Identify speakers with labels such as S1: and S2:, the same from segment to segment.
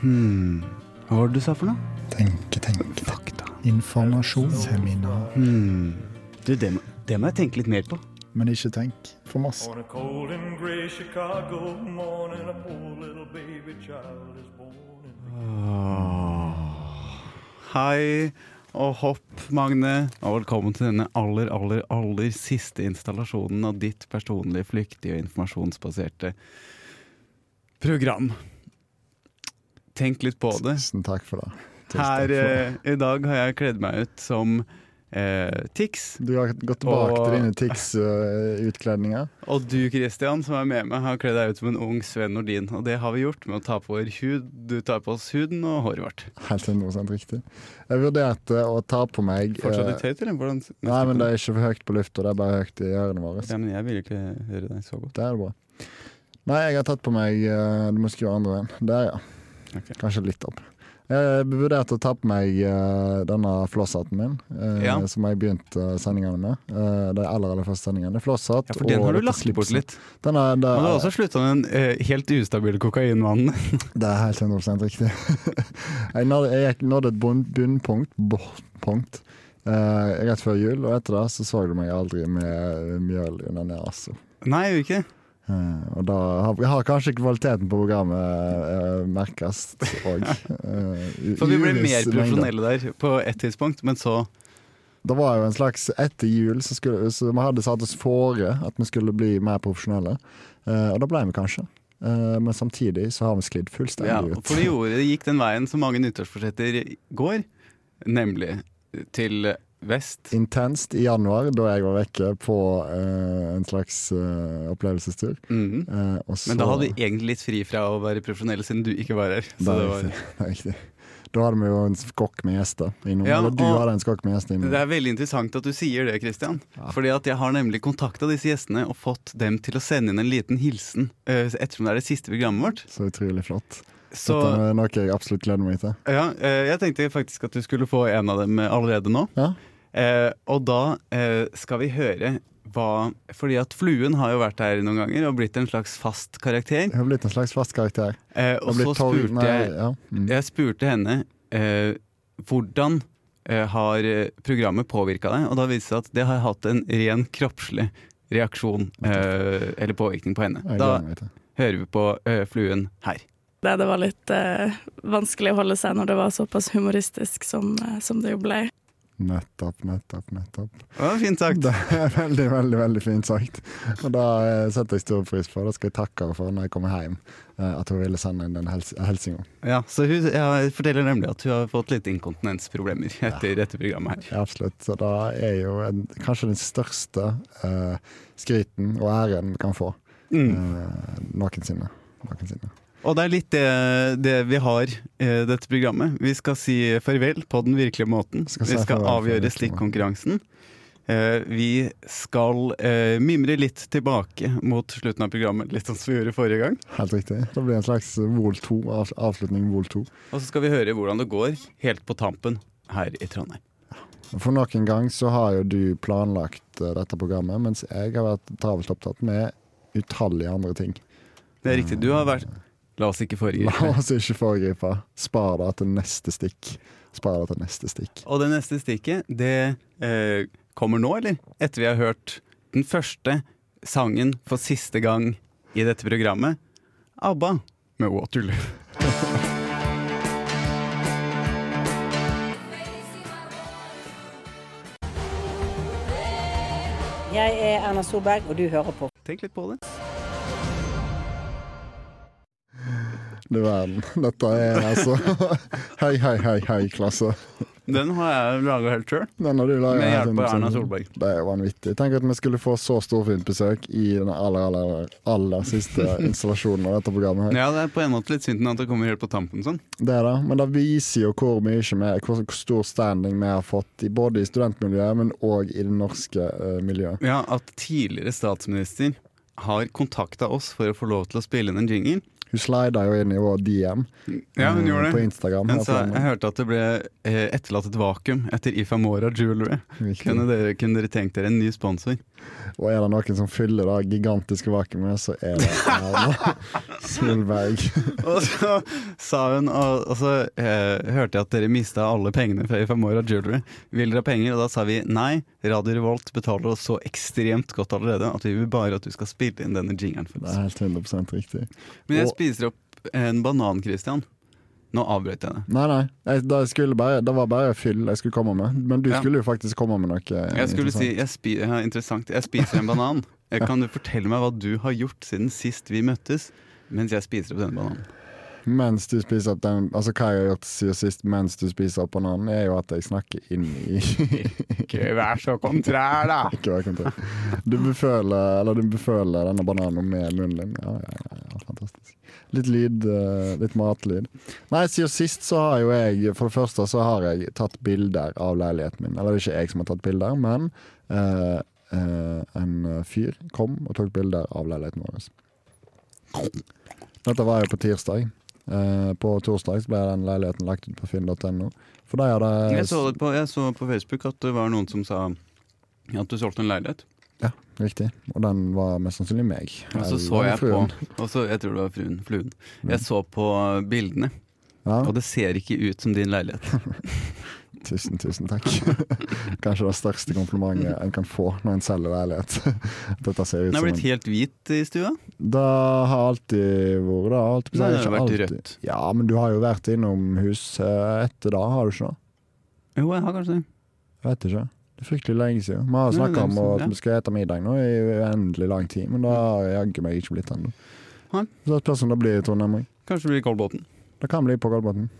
S1: Hmm. Hva var det du sa for noe?
S2: Tenke, tenke.
S1: Fakta.
S2: Informasjon. Seminar.
S1: Hmm. Du, det må, det må jeg tenke litt mer på.
S2: Men ikke tenk for masse.
S3: On a cold and gray Chicago morning, a poor little baby child is born. In
S1: Hei og hopp, Magne, og velkommen til denne aller, aller, aller siste installasjonen av ditt personlige, flyktige og informasjonsbaserte program. Tenk litt på det.
S2: Tusen takk for det. Tusen
S1: Her
S2: takk for det.
S1: eh, i dag har jeg kledd meg ut som eh, Tix,
S2: Du har gått tilbake
S1: og-
S2: til dine TIX-utkledninger.
S1: og du, Christian, som er med meg, har kledd deg ut som en ung Sven Nordin. Og det har vi gjort med å ta på vår hud. Du tar på oss huden og håret vårt.
S2: Helt 100 riktig. Jeg vurderte å ta på meg
S1: Fortsatt
S2: eh,
S1: litt høyt, eller? Hvordan?
S2: Nei, men det er ikke for høyt på lufta, det er bare høyt i ørene våre.
S1: Ja, men jeg vil ikke høre deg så godt.
S2: Det er det bra. Nei, jeg har tatt på meg eh, Du må skru andre veien. Der, ja.
S1: Ok.
S2: Kanskje litt opp. Jeg vurderte å ta på meg eh, denne flosshatten min, eh,
S1: Ja.
S2: som jeg begynte sendingene med. Eh, de aller aller første sendingene. Det er flosshatt
S1: Ja, for den
S2: og
S1: har du
S2: dette
S1: lagt bort
S2: slipset.
S1: litt.
S2: Den er, det,
S1: Men du har
S2: er,
S1: også slutta med den eh, helt ustabile kokainvanen.
S2: det er helt 100 riktig. jeg nådde, jeg gikk- nådde et bunn- bunnpunkt bunnpunkt, eh, rett før jul, og etter det så så du meg aldri med mjøl under nesa.
S1: Nei, jeg gjør ikke det.
S2: Eh, Og da har, har kanskje kvaliteten på programmet eh, merkes Eh, òg.
S1: For vi ble mer profesjonelle der på et tidspunkt, men så
S2: Det var jo en slags etter jul, så, skulle, så vi hadde satt oss fore at vi skulle bli mer profesjonelle. Eh, og da ble vi kanskje. Eh, men samtidig så har vi sklidd
S1: ja,
S2: fullstendig ut.
S1: For det gjorde det gikk den veien som mange nyttårsforsetter går, nemlig til vest.
S2: Intenst i januar, da jeg var vekke på eh, en slags eh, opplevelsestur.
S1: Mhm.
S2: Eh, og så,
S1: Men da hadde vi egentlig litt fri fra å være profesjonelle, siden du ikke var her. Så
S2: Det er
S1: det, var,
S2: riktig. Det er riktig. Da hadde vi jo en skokk med gjester innom.
S1: Ja,
S2: Eller du
S1: og-
S2: hadde en skokk med gjester innom.
S1: det er veldig interessant at du sier det, Christian.
S2: Mm. Ja.
S1: Fordi at jeg har nemlig kontakta disse gjestene og fått dem til å sende inn en liten hilsen eh, ettersom det er det siste programmet vårt.
S2: Så utrolig flott.
S1: Så
S2: Dette er noe jeg absolutt gleder meg til.
S1: Ja, eh, jeg tenkte faktisk at du skulle få en av dem eh, allerede nå.
S2: Ja,
S1: Eh, og da eh, skal vi høre hva Fordi at Fluen har jo vært her noen ganger og blitt en slags fast karakter.
S2: jeg har blitt en slags fast karakter.
S1: Eh,
S2: Jeg har
S1: og så
S2: blitt tolv-
S1: spurte
S2: nei,
S1: jeg
S2: ja. mm.
S1: Jeg spurte henne eh, hvordan eh, har eh, programmet påvirka deg, og da viste det seg at det har hatt en ren kroppslig reaksjon eh, eller påvirkning på henne.
S2: Jeg
S1: Da
S2: gleder meg til.
S1: hører vi på eh, Fluen her.
S4: Det, det var litt eh, vanskelig å holde seg når det var såpass humoristisk som, eh, som det jo ble.
S2: Nettopp, nettopp, nettopp.
S1: Det var fint sagt.
S2: Det er veldig, veldig veldig fint sagt. Og det eh, setter jeg stor pris på. Det skal jeg takke henne for når jeg kommer hjem, eh, at hun ville sende inn den hels hilsinga.
S1: Ja, så hun ja, forteller nemlig at hun har fått litt inkontinensproblemer etter dette programmet her.
S2: Ja, absolutt. Så det er jo en, kanskje den største eh, skryten og æren vi kan få
S1: Mm.
S2: eh, noensinne. noensinne.
S1: Og det er litt det, det vi har i dette programmet. Vi skal si farvel på den virkelige måten.
S2: Skal si
S1: vi skal
S2: farvel på den
S1: avgjøre
S2: virkelige
S1: stikkonkurransen. Eh, vi skal eh, mimre litt tilbake mot slutten av programmet, litt sånn som vi gjorde forrige gang.
S2: Helt riktig. Det blir en slags Vol 2, av, avslutning Vol 2.
S1: Og så skal vi høre hvordan det går helt på tampen her i Trondheim.
S2: For noen gang så har jo du planlagt eh, dette programmet, mens jeg har vært travelt opptatt med utallige andre ting.
S1: Det er riktig. Du har vært La oss ikke
S2: La
S1: foregripe.
S2: oss ikke foregripe. Spar det til neste stikk. Spar det til neste stikk.
S1: Og det neste stikket, det eh, kommer nå, eller? Etter vi har hørt den første sangen for siste gang i dette programmet. ABBA med Waterloo.
S5: Jeg er Erna Solberg, og du hører på.
S1: Tenk litt på det.
S2: Du verden. Dette er altså Hei, hei, hei, hei, klasse.
S1: Den har jeg laga helt sjøl,
S2: Den har du laget
S1: med
S2: her
S1: hjelp av
S2: siden-
S1: Erna Solberg.
S2: Det er jo vanvittig. Tenk at vi skulle få så storfint besøk i den aller, aller, aller siste installasjonen av dette programmet. her.
S1: Ja, det er på en måte litt synd at det kommer helt på tampen sånn.
S2: Det er det, men det viser jo hvor mye vi- hvor hvor stor standing vi har fått i, både i studentmiljøet, men òg i det norske eh, miljøet.
S1: Ja, at tidligere statsminister har kontakta oss for å få lov til å spille inn en jingle.
S2: Hun slida jo inn i vår DM
S1: Ja, hun
S2: eh,
S1: gjorde
S2: på
S1: det.
S2: Instagram.
S1: Men
S2: her
S1: så,
S2: forleden.
S1: jeg hørte at det ble eh, etterlatt et vakuum etter Ifamora Jewelry.
S2: Riktig.
S1: Kunne dere, kunne dere tenkt dere en ny sponsor?
S2: Og er det noen som fyller det gigantiske vakuumet, så er det Erna Solberg.
S1: Og så sa hun Og, og så eh, hørte jeg at dere mista alle pengene fra Ifamora Jewelry. Vil dere ha penger? Og da sa vi nei. Radio Revolt betaler oss så ekstremt godt allerede at vi vil bare at du skal spille inn denne jingeren for
S2: Det
S1: oss.
S2: er helt 100 riktig.
S1: Men jeg
S2: Og-
S1: spiser opp en banan, Christian. Nå avbrøt jeg det.
S2: Nei, nei. Jeg, da jeg skulle bare, det var bare fyll jeg skulle komme med. Men du
S1: Ja.
S2: skulle jo faktisk komme med noe. eh,
S1: Jeg skulle si
S2: interessant.
S1: jeg spi, ja, Interessant. Jeg spiser en banan. Eh, Kan du fortelle meg hva du har gjort siden sist vi møttes? Mens jeg spiser opp denne bananen.
S2: Mens du spiser opp den Altså hva jeg har gjort siden sist mens du spiser opp bananen, er jo at jeg snakker inn i
S1: Ikke vær så kontrær, da!
S2: Ikke hva jeg kan ta. Du beføler, eller du beføler denne bananen med munnen din. Ja, ja, ja, ja, fantastisk. Litt lyd, eh, litt matlyd. Nei, siden sist så har jo jeg For det første så har jeg tatt bilder av leiligheten min. Eller det er ikke jeg som har tatt bilder, men eh, eh, en fyr kom og tok bilder av leiligheten vår. Dette var jo på tirsdag. Eh, på torsdag så ble den leiligheten lagt ut på finn.no. For de hadde
S1: Jeg så, det på, jeg så på Facebook at det var noen som sa at du solgte en leilighet.
S2: Ja, riktig. Og den var mest sannsynlig meg.
S1: Og så så
S2: Eller
S1: jeg på
S2: fruen.
S1: og så, Jeg tror det var fruen. Fluen.
S2: Mm.
S1: Jeg så på bildene,
S2: Ja,
S1: og det ser ikke ut som din leilighet.
S2: tusen, tusen takk. Kanskje det største komplimentet en kan få når en selger leilighet. Dette ser ut
S1: Den er
S2: som
S1: blitt
S2: en
S1: helt hvit i stua.
S2: Det har alltid vært det. Alltid,
S1: Nei, det har
S2: ikke
S1: vært
S2: alltid.
S1: rødt.
S2: Ja, men du har jo vært innom hus eh, etter da, har du ikke det?
S1: Jo, jeg har kanskje det.
S2: Jeg vet ikke. Det er fryktelig lenge siden. Vi har
S1: Nei,
S2: snakka
S1: det er
S2: om
S1: sånn,
S2: at
S1: ja.
S2: vi skal spise middag nå i uendelig lang tid, men det har jaggu meg ikke blitt ennå.
S1: Nei.
S2: Så det spørs om det blir i Trondheim òg.
S1: Kanskje det blir Kolbotn.
S2: Det kan bli på Kolbotn.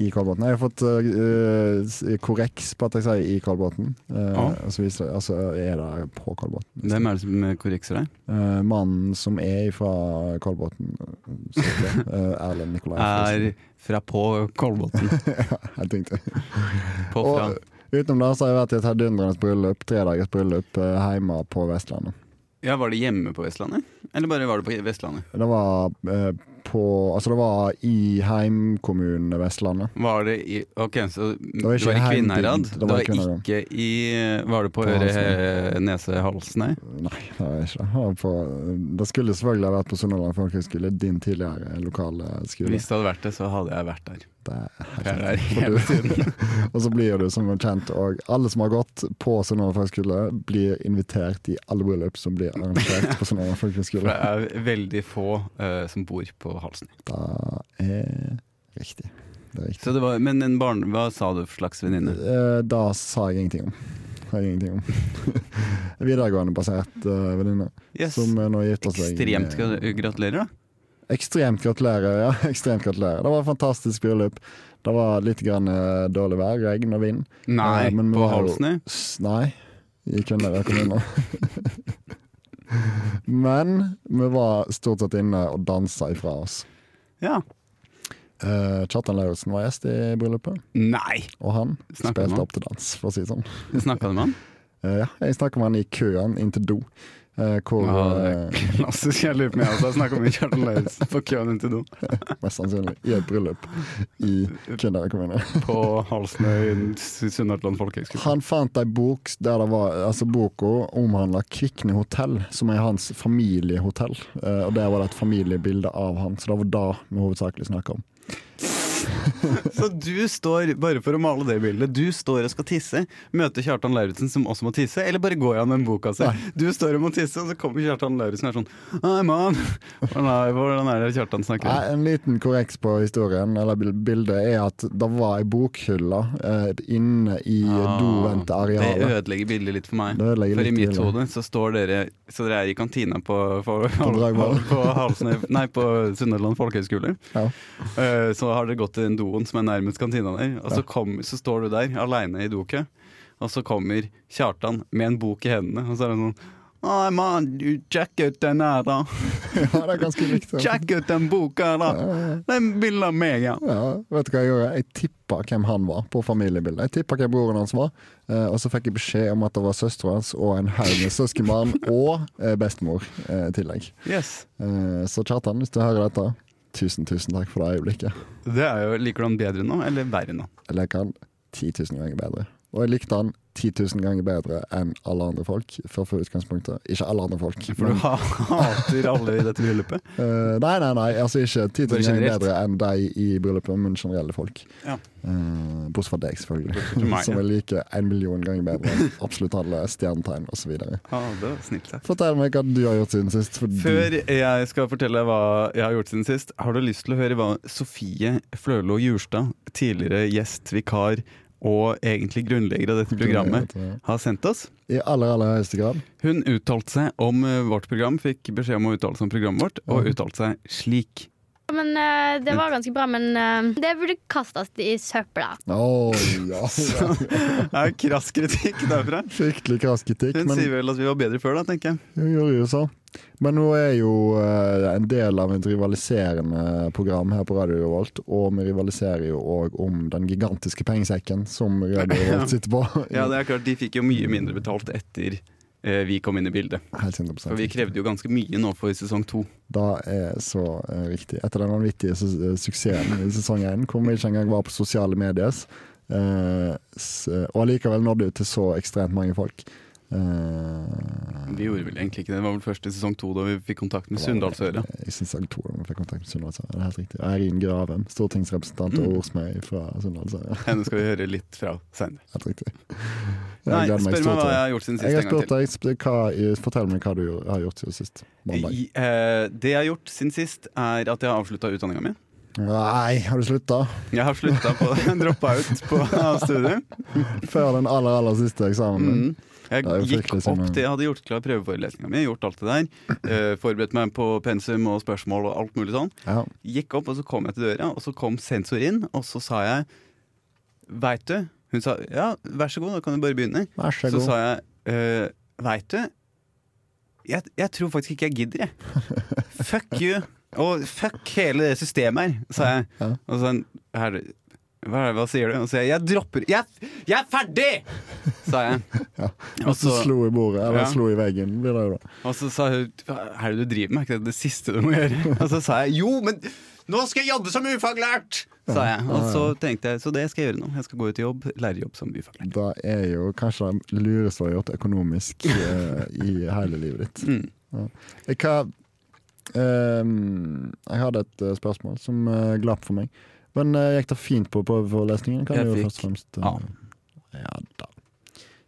S2: I Kolbotn. Jeg har fått eh, s- korreks på at jeg sier i Kolbotn. Eh,
S1: Ja.
S2: Og så viser det, altså, er det på Kolbotn. liksom.
S1: Hvem er det som korrekser deg?
S2: Eh, mannen som er fra Kolbotn, eh, så det, eh, Erlend Nikolai
S1: Er
S2: Fredriksen.
S1: fra på Kolbotn.
S2: Jeg tenkte.
S1: På fra.
S2: Og utenom det så har jeg vært i et heidundrende bryllup, tre dagers bryllup eh, hjemme på Vestlandet.
S1: Ja, Var det hjemme på Vestlandet? Eller bare var det på Vestlandet?
S2: Det var eh, på Altså, det var i heimkommunen Vestlandet.
S1: Var det i Ok, så det
S2: var
S1: var,
S2: ikke
S1: i
S2: heimdygd,
S1: Kvinnherad?
S2: det var
S1: Det var
S2: i Kvinnherad.
S1: ikke i Var det på,
S2: På
S1: Øre, Nese, Halsnøy?
S2: Nei, det var jeg ikke. Det var På, det skulle selvfølgelig ha vært på Sunnhordland folkehøgskole, din tidligere lokale skole.
S1: Hvis det hadde vært det, så hadde jeg vært der.
S2: Det,
S1: Jeg er der
S2: For du-
S1: hele tiden.
S2: og så blir du som kjent, og alle som har gått på Sunnhordland folkehøgskole, blir invitert i alle bryllup som blir arrangert på Sunnhordland
S1: For det
S2: folkehøgskole.
S1: er veldig få eh, som bor på Halsnøy.
S2: Det er riktig. Det er riktig.
S1: Så det var, men en barn, hva sa du for slags venninne?
S2: Eh, Da sa jeg ingenting om. Sa jeg ingenting om. Videregående basert eh, venninne
S1: Yes.
S2: som eh, nå gifter seg.
S1: Ekstremt
S2: med-
S1: gra- gratulerer, da.
S2: Ekstremt gratulerer. ja, ekstremt gratulerer Det var et fantastisk bryllup. Det var litt grann, eh, dårlig vær, regn og vind.
S1: Nei,
S2: Ja, men vi
S1: på
S2: var jo-
S1: Halsnøy.
S2: S nei, i Kvinnherad kommune. Men vi var stort sett inne og dansa ifra oss.
S1: Ja.
S2: Eh, Kjartan Lauritzen var gjest i bryllupet,
S1: Nei!
S2: og han
S1: Snakker om
S2: spilte
S1: han?
S2: opp til dans, for å si det sånn.
S1: Snakka du med han?
S2: Eh, ja, jeg snakka med han i køen inn til do. eh, hvor
S1: Ja, det
S2: eh,
S1: Klassisk, jeg lurer på meg også. Jeg snakka med Kjartan Lauritzen på køen inn til do.
S2: eh, Mest sannsynlig i et bryllup i Kvinnherad kommune.
S1: På Halsnøy Sunnhordland folkehøgskole.
S2: Han fant ei bok der det var Altså boka omhandla Kvikne hotell, som er hans familiehotell. Eh, og der var det et familiebilde av han, så det var det vi hovedsakelig snakka om.
S1: Så du står, bare for å male det bildet, du står og skal tisse, møter Kjartan Lauritzen som også må tisse, eller bare går han med boka si? Du står og må tisse, og så kommer Kjartan Lauritzen og er sånn Hei, mann! Hvordan er- Hvordan er det Kjartan
S2: Nei,
S1: snakker?
S2: Eh, en liten korreks på historien, eller bil- bildet, er at det var ei bokhylle eh, inne i
S1: Ah, Det
S2: doventearealet.
S1: ødelegger bildet litt for meg.
S2: Det ødelegger
S1: For i
S2: litt
S1: mitt
S2: bildet.
S1: hode så står dere Så dere er i kantina på, på,
S2: Dragvoll.
S1: på Halsne- Nei, på Sunnhordland folkehøgskole.
S2: Ja.
S1: Eh, Så har dere gått til den doen som er nærmest kantina der, og så, kom, så står du der aleine i dokø. Og så kommer Kjartan med en bok i hendene, og så er han sånn Oi, mann, du, sjekk ut den her, da.
S2: ja, det er ganske likt. altså. ja.
S1: Sjekk ut den boka, da. Den bildet av meg, ja.
S2: Ja, vet du hva Jeg gjorde? Jeg tippa hvem han var på familiebildet. Jeg tippa hvem broren hans var. eh, Og så fikk jeg beskjed om at det var søstera hans og en haug med søskenbarn og eh, bestemor eh, i tillegg.
S1: Yes.
S2: Eh, Så Kjartan, hvis du hører dette, tusen, tusen takk for det øyeblikket.
S1: Det er jo, Liker du han bedre nå, eller verre nå?
S2: Jeg liker han 10 000 ganger bedre. Og jeg likte han 10 000 ganger bedre enn alle andre folk. For for utgangspunktet. Ikke alle andre folk.
S1: For du ha- hater alle i dette bryllupet.
S2: Eh, nei, nei, nei. Altså ikke 10 000
S1: Bare
S2: ganger
S1: generelt.
S2: bedre enn de i bryllupet, men generelle folk.
S1: Ja.
S2: Eh, bortsett fra deg, selvfølgelig.
S1: Bortsett fra meg,
S2: som
S1: ja.
S2: jeg liker en million ganger bedre enn absolutt alle stjernetegn osv.
S1: Ja, det var snilt sagt.
S2: Fortell meg hva du har gjort siden sist. For
S1: Før jeg skal fortelle hva jeg har gjort siden sist, har du lyst til å høre hva Sofie Flølo Jurstad, tidligere gjest, vikar og egentlig grunnlegger av dette programmet, har sendt oss?
S2: I aller, aller høyeste grad.
S1: Hun uttalte seg om eh, vårt program, fikk beskjed om å uttale seg om programmet vårt, og
S2: Ja.
S1: uttalte seg slik.
S6: Ja, Men eh, det var ganske bra, men eh, det burde kastes i søpla.
S2: Å ja.
S1: Så det er krass kritikk derfra.
S2: Fryktelig krass kritikk.
S1: Hun sier vel at vi var bedre før, da, tenker jeg.
S2: Hun gjorde jo så. Men hun er jo eh, en del av et rivaliserende program her på Radio Revolt, og vi rivaliserer jo òg om den gigantiske pengesekken som Radio Revolt sitter på.
S1: Ja, det er klart, De fikk jo mye mindre betalt etter eh, vi kom inn i bildet.
S2: Helt
S1: For
S2: 100
S1: vi krevde jo ganske mye nå for sesong to.
S2: Det er så eh, riktig. Etter den vanvittige su eh, suksessen i sesong én, hvor vi ikke engang var på sosiale medier, eh, s- og allikevel nådde ut til så ekstremt mange folk. Eh,
S1: Vi gjorde vel egentlig ikke det. Det var vel først i sesong to da vi fikk kontakt med Sunndalsøra.
S2: Jeg synes jeg to ganger fikk kontakt med Sunndalsøra. Det er helt riktig. Eirin Gravem, stortingsrepresentant
S1: Mm.
S2: og ordsmed fra Sunndalsøra.
S1: Henne skal vi høre litt fra seinere.
S2: Helt riktig. Jeg
S1: Nei,
S2: gleder
S1: spør meg hva
S2: stort
S1: jeg
S2: til det.
S1: har gjort siden sist.
S2: Jeg har
S1: en gang
S2: spurt deg, sp- hva, Fortell meg hva du har gjort siden sist.
S1: til.
S2: Mandag.
S1: I, eh, det jeg har gjort siden sist, er at jeg har avslutta utdanninga mi.
S2: Nei, har du slutta?
S1: Jeg har slutta på Droppa ut på av studiet.
S2: Før den aller, aller siste eksamen din?
S1: Mm. Jeg
S2: Det er jo
S1: gikk
S2: fryktelig
S1: opp
S2: synd.
S1: til Jeg hadde gjort klar prøveforelesninga mi, gjort alt det der. eh, forberedt meg på pensum og spørsmål og alt mulig sånn.
S2: Ja.
S1: Gikk opp, og så kom jeg til døra, og så kom sensor inn, og så sa jeg Veit du? Hun sa ja, vær så god, da kan du bare begynne.
S2: Vær så
S1: Så
S2: god.
S1: sa jeg «Eh, Veit du? Jeg, jeg tror faktisk ikke jeg gidder, jeg. Fuck you! Og fuck hele det systemet her, sa jeg.
S2: Ja.
S1: Og så sa han «Her, hva, er det- hva sier du? Og så sa jeg jeg dropper Jeg, jeg er ferdig! sa jeg.
S2: Ja.
S1: Og
S2: Hvis du
S1: så-
S2: slo i bordet, eller
S1: Ja.
S2: slo i veggen, blir det jo da.
S1: og så sa hun Hva er det du driver med? Er ikke det det siste du må gjøre? Og så sa jeg jo, men nå skal jeg jobbe som ufaglært! Sa jeg. Og så tenkte jeg så det skal jeg gjøre nå. Jeg skal gå ut i jobb, lærerjobb som ufaglært.
S2: Da er jo kanskje det lureste du har gjort økonomisk eh, i hele livet ditt.
S1: Mm.
S2: Ja. Jeg, har, ehm, jeg hadde et eh, spørsmål som eh, glapp for meg. Men eh, gikk det fint på prøveforelesningen? Kan
S1: Jeg
S2: du jo
S1: fikk
S2: først og fremst, eh,
S1: A.
S2: ja da.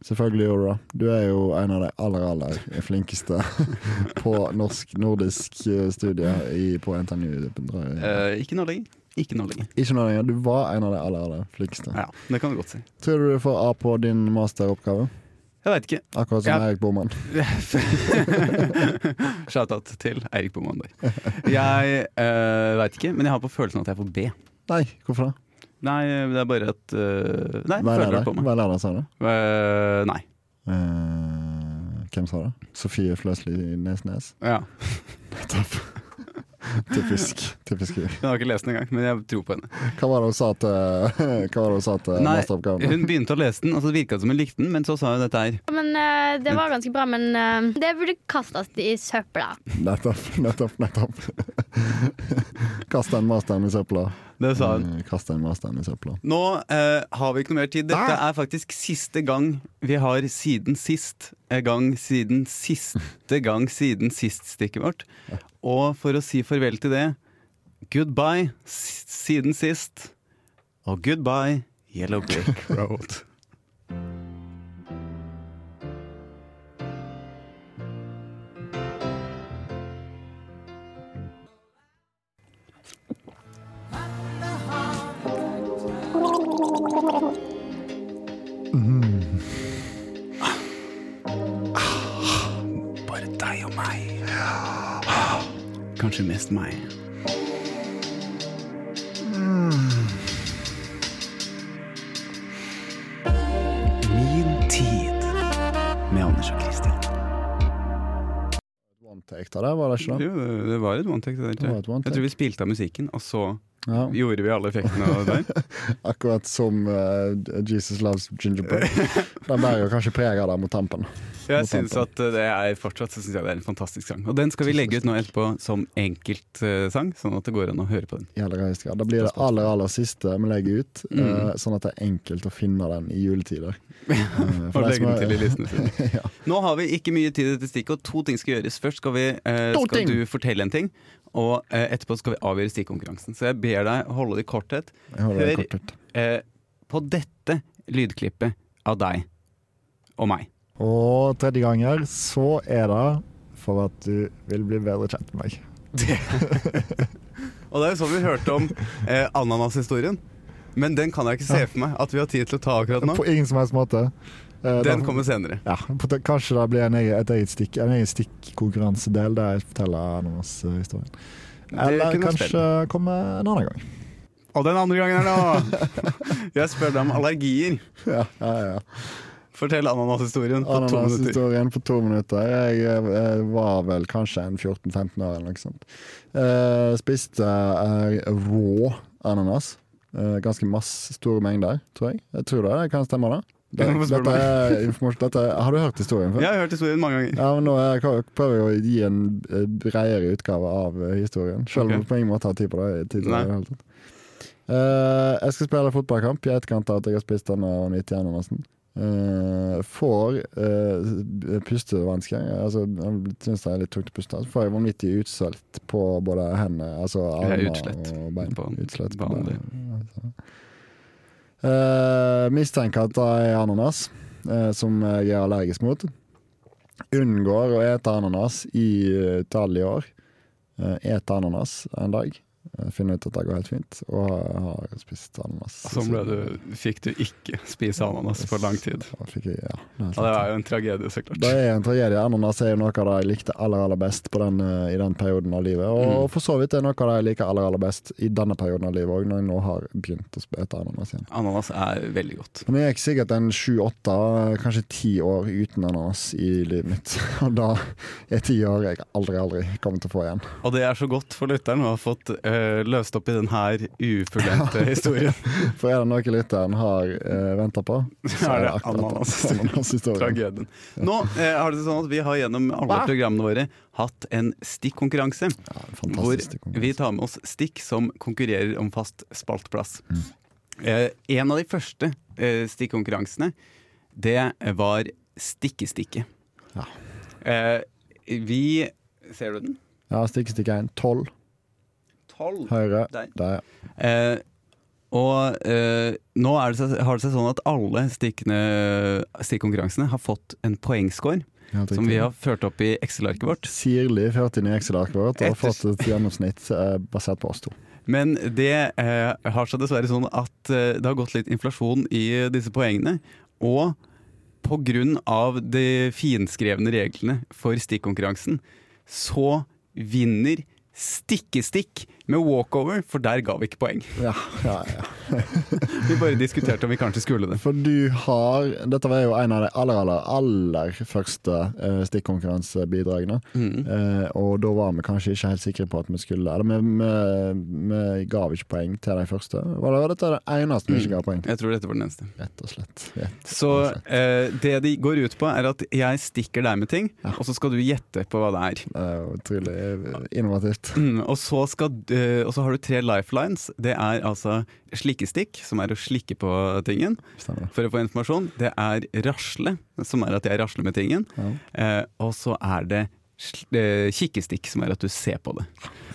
S2: Selvfølgelig gjorde du det. Du er jo en av de aller, aller flinkeste på norsk, nordisk eh, studie i, på NTNU.
S1: Eh, ikke nå lenger. Ikke nå lenger.
S2: Ikke noe lenger. Du var en av de aller, aller flinkeste.
S1: Ja, det kan du godt si.
S2: Tror du du får A på din masteroppgave?
S1: Jeg veit ikke.
S2: Akkurat som
S1: Ja.
S2: Erik Boman.
S1: Shout-out til Eirik på mandag. Jeg uh, veit ikke, men jeg har på følelsen at jeg får B.
S2: Nei, hvorfor det?
S1: Nei, det er bare at eh, Nei,
S2: Hva er
S1: føler
S2: det?
S1: det på meg.
S2: Hva er det, sa du?
S1: Eh, nei.
S2: Eh, hvem sa det? Sofie Fløsli Nesnes.
S1: Ja.
S2: Typisk. typisk.
S1: Jeg har ikke lest den engang, men jeg tror på henne.
S2: Hva var det hun sa til, hva var det hun sa til
S1: Nei,
S2: masteroppgaven?
S1: hun begynte å lese den, og så virka det som hun likte den, men så sa hun dette her.
S6: Ja, Men eh, det var ganske bra, men eh, det burde kastes i søpla.
S2: Nettopp, nettopp, nettopp. Kast den masteren i søpla.
S1: Det sa hun.
S2: Eh, Kast den masteren i søpla.
S1: Nå eh, har vi ikke noe mer tid. Dette er faktisk siste gang vi har siden sist eh, gang siden siste gang siden sist-stikket vårt. Og for å si farvel til det, goodbye s- siden sist, og goodbye Yellow Brick Road. Bare deg og meg. Kanskje mest meg. Min tid med Anders og Christian.
S2: One take av det, var det ikke det?
S1: Jo, det var et one take. Det der,
S2: Det var et
S1: Jeg
S2: one take.
S1: tror vi spilte av musikken, og så
S2: Ja.
S1: Gjorde vi alle effektene av det der?
S2: Akkurat som eh, Jesus Loves Gingerbread. Den bærer jo kanskje preg av det mot tampen.
S1: Jeg synes at eh, det er fortsatt så synes jeg det er en fantastisk sang. Og den skal vi legge ut nå etterpå som enkeltsang, sånn at det går an å høre på den.
S2: I aller høyeste grad. Det blir det aller aller siste vi legger ut,
S1: Mm.
S2: eh, sånn at det er enkelt å finne den i juletider. Eh,
S1: Og
S2: for de
S1: legge
S2: som
S1: den
S2: er-
S1: til i listene sine.
S2: Ja.
S1: Nå har vi ikke mye tid til stikk, og to ting skal gjøres. Først skal, vi, eh,
S2: To ting!
S1: skal du fortelle en ting, og eh, etterpå skal vi avgjøre stikkonkurransen. Så jeg ber deg holde det i korthet.
S2: Jeg holder det
S1: Hør-
S2: kort ut.
S1: Eh, på dette lydklippet av deg og meg.
S2: Og tredje ganger så er det for at du vil bli bedre kjent med meg.
S1: Og det er jo sånn vi hørte om eh, ananashistorien. Men den kan jeg ikke se for meg at vi har tid til å ta akkurat nå.
S2: På ingen som helst måte. Eh,
S1: Den
S2: da-
S1: kommer senere.
S2: ja, på- kanskje det blir en egen, et eget stikk, en egen stikkonkurransedel der jeg forteller Ananas-historien.
S1: Det
S2: Eller
S1: kunne vært
S2: kanskje komme en annen gang.
S1: Og den andre gangen er nå! Jeg spør deg om allergier.
S2: Ja, ja, ja.
S1: Fortell ananashistorien på to minutter.
S2: Ananashistorien på to minutter. Jeg, eh, var vel kanskje en 14-15 år eller noe sånt. Eh, spiste eh, rå ananas. Eh, ganske masse store mengder, tror jeg. Jeg tror det, det kan stemme det. det
S1: Ja, hvorfor spør du
S2: dette er informasjon dette, er- Har du hørt historien før?
S1: Jeg har hørt historien mange ganger.
S2: Ja, men nå er jeg, prøver jeg å gi en eh, bredere utgave av eh, historien. Selv om
S1: Ok.
S2: jeg på ingen måte har tid på det. Tid til det
S1: Nei.
S2: i det hele tatt. Eh, jeg skal spille fotballkamp i etterkant av at jeg har spist denne og nytt gjennom nesten. Eh, får eh, pustevansker. Altså, jeg syns det er litt tungt å puste. Så får jeg vanvittig utslett på både hender, altså
S1: Jeg er
S2: armer
S1: utslett
S2: og bein.
S1: på en
S2: Utslett på
S1: vanlig.
S2: bein. altså. Eh, mistenker at det er ananas, eh, som jeg er allergisk mot. Unngår å ete ananas i eh, utallige år. Uh, ete ananas en dag. eh, finner ut at det går helt fint, og har spist ananas.
S1: Sånn ble du, fikk du ikke spise ananas på lang tid.
S2: Da fikk jeg, ja, det er
S1: Ja, det
S2: sant.
S1: er jo en tragedie, så klart.
S2: Det er en tragedie. Ananas er jo noe av det jeg likte aller aller best på den, eh, i den perioden av livet. Og
S1: Mm.
S2: for så vidt er noe av det jeg liker aller aller best i denne perioden av livet òg, når jeg nå har begynt å sp- ete ananas igjen.
S1: Ananas er veldig godt.
S2: Men jeg gikk sikkert en sju-åtte, kanskje ti år uten ananas i livet mitt. Og da er ti år jeg aldri, aldri kommer til å få igjen.
S1: Og det er så godt for lytteren å ha fått eh, løst opp i den her ufullendte historien.
S2: For er det noe lytteren har uh, venta på,
S1: Så er det ananas.
S2: ananashistorien.
S1: Tragedien. Nå eh, har det sånn at vi har gjennom alle programmene våre hatt en stikkonkurranse. Hvor
S2: Fantastisk.
S1: vi tar med oss stikk som konkurrerer om fast spaltplass. Eh, en av de første eh, stikkonkurransene, det var Stikkestikket.
S2: Ja.
S1: Eh, vi Ser du den?
S2: Ja, stikk, stikk én. Tolv.
S1: Tolv.
S2: Høyre.
S1: Der.
S2: Der.
S1: Eh, og eh, nå er det, så- har det seg sånn at alle stikkene, stikkonkurransene har fått en poengscore,
S2: Helt
S1: som
S2: riktig.
S1: vi har ført opp i Excel-arket vårt.
S2: Sirlig ført inn i Excel-arket vårt og
S1: Etter-
S2: fått et gjennomsnitt eh, basert på oss to.
S1: Men det eh, har seg dessverre sånn at eh, det har gått litt inflasjon i disse poengene. Og på grunn av de finskrevne reglene for stikkonkurransen, så vinner Stikkestikk med walkover, for der ga vi ikke poeng.
S2: Ja, ja, ja.
S1: Vi bare diskuterte om vi kanskje skulle det.
S2: For du har Dette var jo en av de aller, aller, aller første eh, stikkonkurransebidragene. Eh, og da var vi kanskje ikke helt sikre på at vi skulle Eller vi, vi, vi gav ikke poeng til de første. Var det, dette er det eneste vi ikke ga poeng til.
S1: Jeg tror dette var den eneste.
S2: Rett og slett. Rett.
S1: Så eh, det de går ut på, er at jeg stikker deg med ting, og så skal du gjette på hva det er.
S2: Det er jo utrolig innovativt.
S1: Mm, og, så skal, eh, og så har du tre lifelines. Det er altså slikkestikk, som er å slikke på tingen
S2: Stemmer det.
S1: for å få informasjon. Det er rasle, som er at jeg rasler med tingen. Eh, og så er det sl- eh, kikkestikk, som er at du ser på det.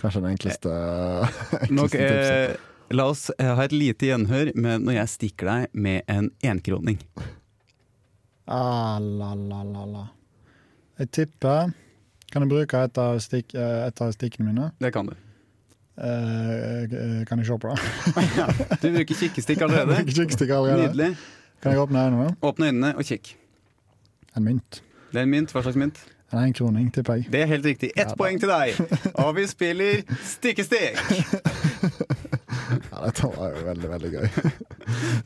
S2: Kanskje den enkleste,
S1: Eh,
S2: enkleste
S1: Nok,
S2: tipset.
S1: eh, la oss eh, ha et lite gjenhør med når jeg stikker deg med en enkroning.
S2: Ah, la, la, la, la. Jeg tipper Kan jeg bruke et av, stikk, eh, et av stikkene mine?
S1: Det kan du.
S2: Eh, eh, kan jeg se på det?
S1: Ja, du bruker kikkestikk
S2: Ikke
S1: allerede.
S2: kikkstikk allerede.
S1: Nydelig.
S2: Kan jeg åpne øynene?
S1: Åpne øynene og kikk.
S2: En mynt.
S1: Det er en mynt. Hva slags mynt?
S2: En enkroning, tipper jeg.
S1: Det er helt riktig. Ett poeng til deg. Og vi spiller stikkestikk.
S2: Ja, dette var jo veldig, veldig gøy.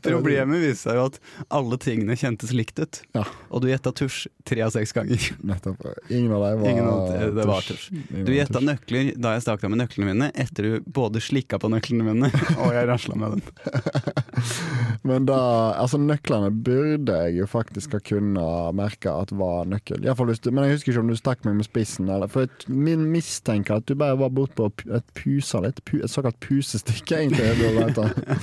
S1: Problemet viste seg jo at alle tingene kjentes likt ut.
S2: Ja.
S1: Og du gjetta tusj tre av seks ganger.
S2: Nettopp. Ingen av dem var
S1: Ingen av de- det var
S2: Ingen
S1: Du
S2: var
S1: gjetta nøkler da jeg stakk deg med nøklene mine, etter du både slikka på nøklene mine og jeg rasla med dem.
S2: Men da, altså nøklene burde jeg jo faktisk ha kunnet merke at var nøkkel. I hvert fall hvis du, men jeg husker ikke om du stakk meg med spissen. Eller, for jeg min mistenker at du bare var bortpå og pu- et pusa litt. Pu, et såkalt pusestykke, egentlig. er det det heter.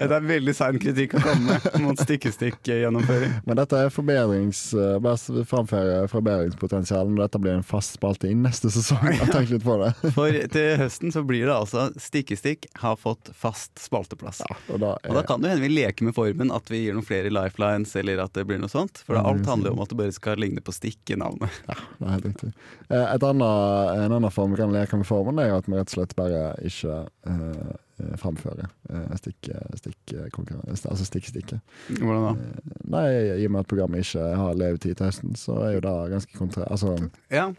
S1: Det er veldig sein kritikk å komme med mot eh, stikkestikk-gjennomføring.
S2: Men dette er forbedrings, eh, bare s- framføre forbedringspotensial når dette blir en fast spalte i neste sesong. Jeg har tenkt litt på det.
S1: For til høsten så blir det altså Stikkestikk har fått fast spalteplass.
S2: Og da
S1: Og da
S2: er,
S1: kan det hende vi leker med formen, at vi gir noen flere lifelines eller at det blir noe sånt. For da alt handler jo om at det bare skal ligne på stikk i navnet.
S2: det er helt riktig. Eh, Et annet, en annen form vi kan leke med formen, er jo at vi rett og slett bare ikke eh, framfører eh, stikk, stikk, altså stikk-stikket.
S1: Hvordan da?
S2: Nei, i og med at programmet ikke har levetid til høsten, så er jo det ganske kontra... Altså,
S1: Ja,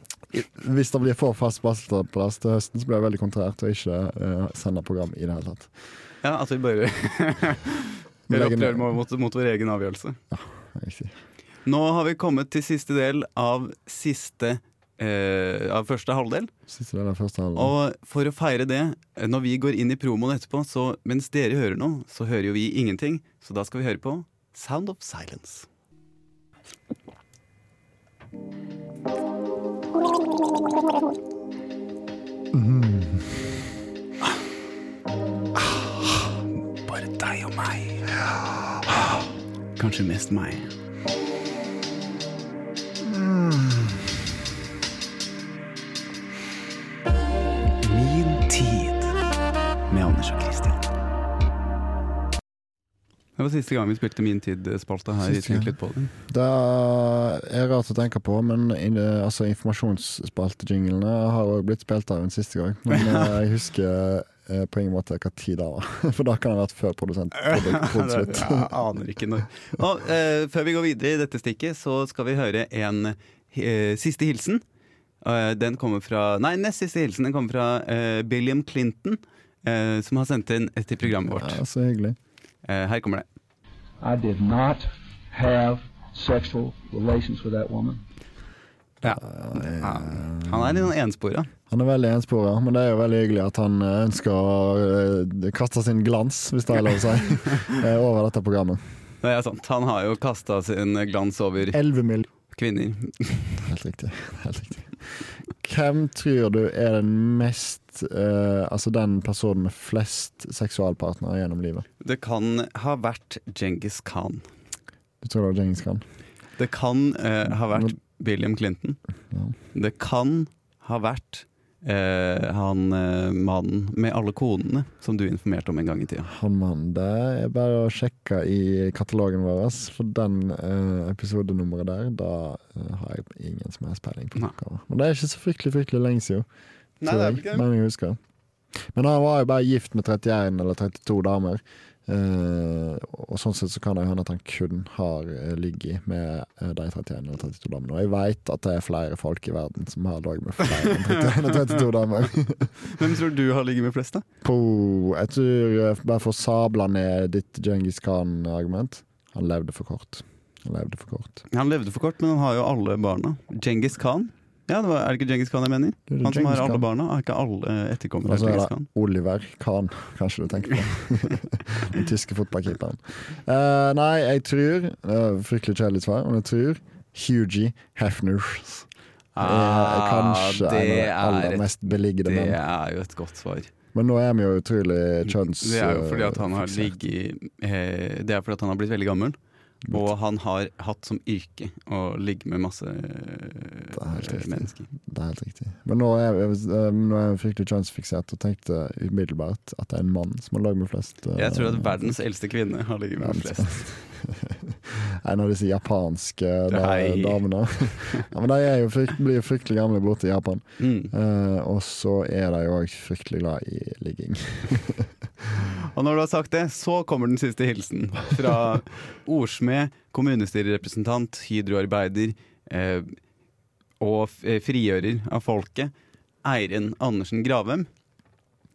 S2: hvis det blir for fast bastelplass til høsten, så blir det veldig kontrært å ikke eh, sende program i det hele tatt.
S1: ja at vi bare
S2: Vi
S1: gjør
S2: legger ned.
S1: opprør mot, mot vår egen avgjørelse.
S2: Riktig.
S1: Nå har vi kommet til siste del av siste eh, av første halvdel.
S2: Siste del av første halvdel.
S1: Og for å feire det, eh, når vi går inn i promoen etterpå, så mens dere hører noe, så hører jo vi ingenting. Så da skal vi høre på Sound of Silence. Ah, Bare deg og meg. Ah, Kanskje mest meg. Min tid med Anders og Kristian. Det var siste gang vi spilte Min tid-spalta her.
S2: Siste gang.
S1: Tenk litt på det.
S2: Det er rart å tenke på, men in, eh, altså, informasjonsspaltejinglene har også blitt spilt av en siste gang. Men eh, jeg husker eh, på ingen måte hva tid det var, for da kan det ha vært før produsent. produsent-
S1: Jeg aner ikke når. Og, eh, før vi går videre i dette stikket, så skal vi høre en eh, siste hilsen. Eh, den kommer fra Nei, nest siste hilsen den kommer fra eh, William Clinton, eh, som har sendt inn til programmet vårt.
S2: Ja, så hyggelig.
S1: Eh, her kommer det.
S7: I did not have sexual relations with that woman.
S1: Ja. Ja. Han er litt sånn enspora.
S2: Han er veldig enspora, men det er jo veldig hyggelig at han eh, ønsker å eh, kaste sin glans, hvis det er lov å si, eh, over dette programmet.
S1: Det er sant. Han har jo kasta sin glans over
S2: 11 mill.
S1: kvinner.
S2: Helt riktig. Helt riktig. Hvem tror du er den mest eh, Altså den personen med flest seksualpartnere gjennom livet?
S1: Det kan ha vært Djengis Khan.
S2: Du tror det var Djengis Khan?
S1: Det kan eh, ha vært William Clinton. Det kan ha vært eh, han eh, mannen med alle konene som du informerte om en gang i tida.
S2: Han mannen der er bare å sjekke i katalogen vår, for den eh, episodenummeret der, da eh, har jeg ingen som helst peiling på.
S1: Nei.
S2: hva det var. Men det er ikke så fryktelig, fryktelig lenge siden. tror jeg. Men jeg husker. Men han var jo bare gift med 31 eller 32 damer. Eh, og sånn sett så kan det jo hende at han kun har eh, ligget med eh, de 31 eller 32 damene. Og jeg veit at det er flere folk i verden som har ligget med flere enn 31 og 32 damer.
S1: Hvem tror du har ligget med flest, da?
S2: Po, jeg tror eh, Bare for å sabla ned ditt Djengis Khan-argument Han levde for kort. Han levde for kort.
S1: Han levde for kort, men han har jo alle barna. Djengis Khan. Ja, det var, er det ikke Djengis Khan jeg mener?
S2: Det er det
S1: Han som
S2: Djengis
S1: har alle
S2: Khan. Altså,
S1: barna, er ikke alle eh, etterkommere
S2: Og
S1: av
S2: så er
S1: Djengis
S2: det
S1: Khan.
S2: Oliver Kahn, kanskje du tenker på. Den tyske fotballkeeperen. Eh, nei, jeg tror eh, Fryktelig kjedelig svar, men jeg tror Hugie Hefners. er eh, kanskje
S1: Ah, det,
S2: en av de
S1: er
S2: aller
S1: et,
S2: mest beliggede
S1: det
S2: menn.
S1: er jo et godt svar.
S2: Men nå er vi jo utrolig kjønns...
S1: Det er jo fordi at han har
S2: eh, fiksert.
S1: ligget eh, Det er fordi at han har blitt veldig gammel. Og han har hatt som yrke å ligge med masse
S2: er helt
S1: eh,
S2: riktig.
S1: mennesker.
S2: Det er helt riktig. Men nå er, jeg, eh, nå er jeg fryktelig kjønnsfiksert og tenkte umiddelbart at det er en mann som har lagd med flest. eh,
S1: Jeg tror at verdens eldste kvinne har ligget med
S2: verdens-
S1: flest.
S2: en av disse japanske da,
S1: Nei.
S2: damene. ja, men de er jo frykt, blir jo fryktelig gamle borte i Japan.
S1: Mm.
S2: Eh, og så er de jo òg fryktelig glad i ligging.
S1: Og når du har sagt det, så kommer den siste hilsen fra ordsmed, kommunestyrerepresentant, hydroarbeider eh, og f- eh, frigjører av folket, Eirin Andersen Gravem.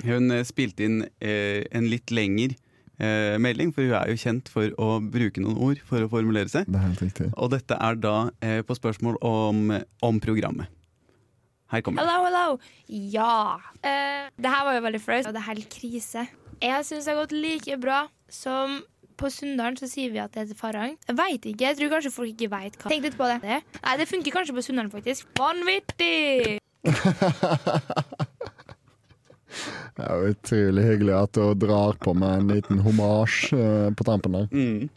S1: Hun eh, spilte inn eh, en litt lengre eh, melding, for hun er jo kjent for å bruke noen ord for å formulere seg.
S2: Det er helt riktig.
S1: Og dette er da eh, på spørsmål om, om programmet. Her kommer det.
S8: Hello, hello! Ja. Eh, det her var jo veldig flaut, og det er helt krise. Jeg syns det har gått like bra som på Sunndalen så sier vi at det heter Farang. Jeg veit ikke. Jeg tror kanskje folk ikke veit hva Tenk litt på det. det. Nei, det funker kanskje på Sunndalen, faktisk. Vanvittig!
S2: Det er jo utrolig hyggelig at du drar på med en liten homasj eh, på tampen der.
S1: Mm.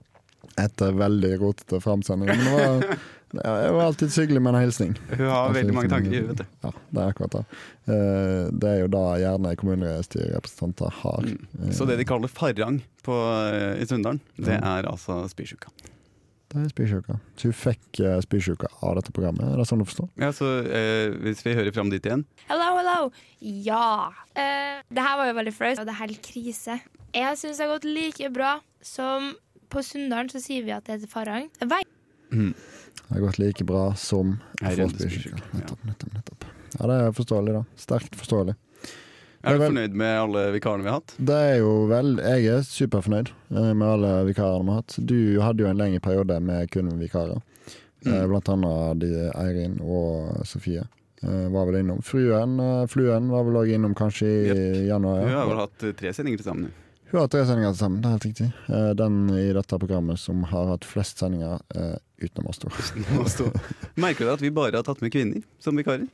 S2: Etter veldig rotete framsending. Men det var, det var alltid hyggelig med en hilsning.
S1: Hun har veldig mange tanker i huet. vet du.
S2: Ja, det er akkurat det. Eh, Det er jo da gjerne kommunestyrerepresentanter har. Eh,
S1: Mm. Så det de kaller farrang på, eh, i Sunndalen, det er altså spysjuka.
S2: Det er spysjuka. Så hun fikk eh, spysjuka av dette programmet, er det sånn du forstår?
S1: Ja, så eh, hvis vi hører fram dit igjen
S8: Hello, hello! Ja. Eh, det her var jo veldig flaut, og det er helt krise. Jeg syns det har gått like bra som på Sunndalen så sier vi at det heter Farang. Jeg veit
S2: Mm. Det har gått like bra som
S1: Nei,
S2: Fort
S1: Rønnes
S2: Bysyke.
S1: bysyke, ja.
S2: Nettopp, nettopp, nettopp. Ja, det er forståelig, da. Sterkt forståelig.
S1: Er du
S2: Ja, vel.
S1: fornøyd med alle vikarene vi har hatt?
S2: Det er jo vel Jeg er superfornøyd eh, med alle vikarene vi har hatt. Du hadde jo en lengre periode med kun vikarer. Eh,
S1: Mm.
S2: Blant annet de, Eirin og Sofie eh, var vel innom. Fruen, eh, Fluen var vel òg innom kanskje i januar.
S1: Hun
S2: Ja.
S1: har vel hatt eh, tre sendinger til sammen. hun.
S2: Hun har hatt tre sendinger til sammen, det er helt riktig. Eh, Den i dette programmet som har hatt flest sendinger eh, utenom oss to.
S1: Nå sto- Merker du at vi bare har tatt med kvinner som vikarer?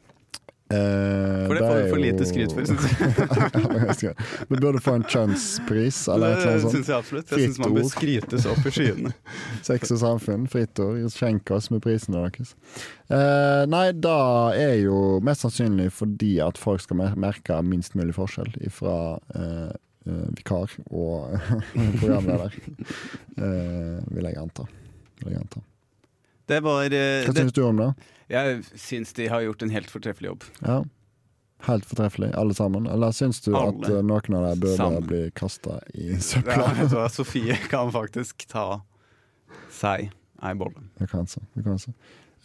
S2: Eh,
S1: For det får
S2: er
S1: vi for lite
S2: jo-
S1: skryt for, syns jeg.
S2: Ja, jeg skal- Vi burde få en kjønnspris eller et eller
S1: Det
S2: annet sånt.
S1: syns jeg absolutt. Jeg syns man bør skrytes opp i skyene.
S2: Sex og samfunn, fritt ord. Skjenk oss med prisene deres. Eh, nei, da er jo mest sannsynlig fordi at folk skal mer- merke minst mulig forskjell fra eh, eh, vikar og programleder. Eh, vil jeg anta. Vil jeg anta.
S1: Det var eh,
S2: Hva
S1: det,
S2: syns du om det?
S1: Jeg syns de har gjort en helt fortreffelig jobb.
S2: Ja. Helt fortreffelig, alle sammen. Eller syns du
S1: Alle
S2: at eh, noen av dem burde
S1: sammen.
S2: bli kasta i
S1: Ja,
S2: søpla?
S1: vet du hva, Sofie kan faktisk ta seg ei bolle.
S2: Det kan så, det kan så.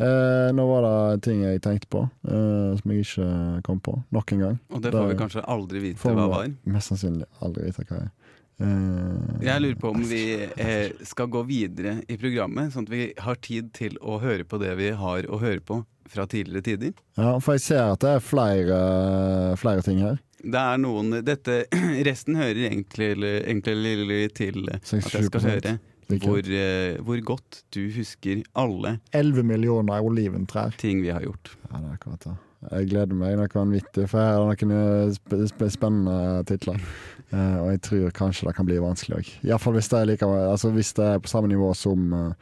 S2: Eh, nå var det ting jeg tenkte på, eh, som jeg ikke kom på. Nok en gang.
S1: Og det får vi
S2: Da-
S1: kanskje aldri vite
S2: Får
S1: hva
S2: vi
S1: var.
S2: Mest sannsynlig aldri vite hva jeg eh,
S1: Jeg lurer på om vi eh, skal gå videre i programmet, sånn at vi har tid til å høre på det vi har å høre på fra tidligere tider.
S2: Ja, for jeg ser at det er flere, flere ting her.
S1: Det er noen dette, Resten hører egentlig, egentlig til at jeg skal
S2: 67%
S1: høre
S2: Like.
S1: hvor, eh, hvor godt du husker alle
S2: 11 millioner oliventrær.
S1: ting vi har gjort.
S2: Ja, det er akkurat det. Jeg gleder meg noe vanvittig, for her er det noen eh, sp sp spennende titler. Eh, og jeg tror kanskje det kan bli vanskelig òg. Iallfall hvis, det er like, altså hvis det er på samme nivå som eh,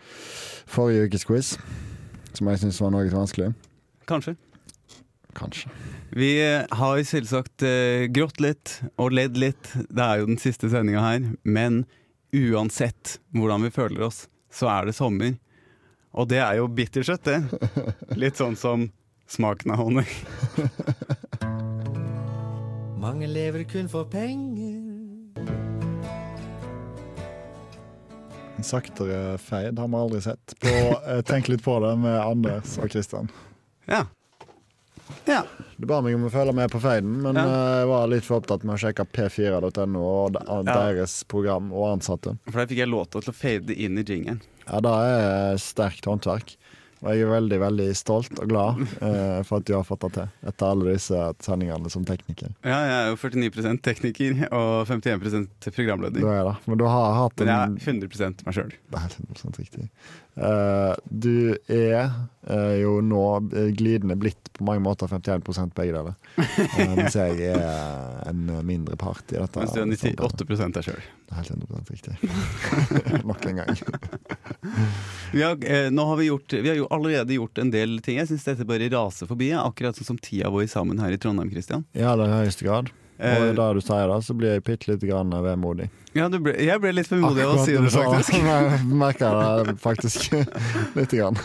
S2: forrige ukes quiz, som jeg syns var noe vanskelig.
S1: Kanskje.
S2: Kanskje.
S1: Vi har selvsagt eh, grått litt og ledd litt. Det er jo den siste sendinga her. Men uansett hvordan vi føler oss, så er det sommer. Og det er jo bittersøtt, det. Litt sånn som smaken av honning.
S9: Mange lever kun for penger.
S2: En saktere feid har vi aldri sett. På, eh, tenk litt på det med Anders og Kristian.
S1: Ja. ja.
S2: Du ba meg om å følge med på feiden, men
S1: Ja.
S2: eh, jeg var litt for opptatt med å sjekke p4.no og de- deres program og ansatte.
S1: For der fikk jeg låta til å fade inn i jingeren.
S2: Ja, det er sterkt håndverk. Og jeg er veldig veldig stolt og glad eh, for at du har fått det til etter alle disse sendingene som tekniker.
S1: Ja, jeg er jo 49 tekniker og 51
S2: Du
S1: programleder.
S2: er det. Men du har hatt
S1: Men
S2: en
S1: jeg er 100 meg sjøl.
S2: Det er 100 riktig. Eh, du er eh, jo nå eh, glidende blitt på mange måter 51 begge deler. Eh, mens jeg er eh, en mindre part i dette.
S1: Mens du er 98 deg sjøl.
S2: Det er helt 100 riktig. Nok en gang.
S1: Vi har, eh, nå har vi, gjort, vi har jo allerede gjort en del ting. Jeg syns dette bare raser forbi. jeg. Akkurat sånn som tida vår sammen her i Trondheim, Christian.
S2: Ja, det er i høyeste grad. Og
S1: Eh,
S2: da du sier det, så blir jeg bitte lite grann vemodig.
S1: Ja, du ble, jeg ble litt vemodig av å si det,
S2: Akkurat
S1: faktisk.
S2: du sa det. Jeg merker det faktisk lite grann.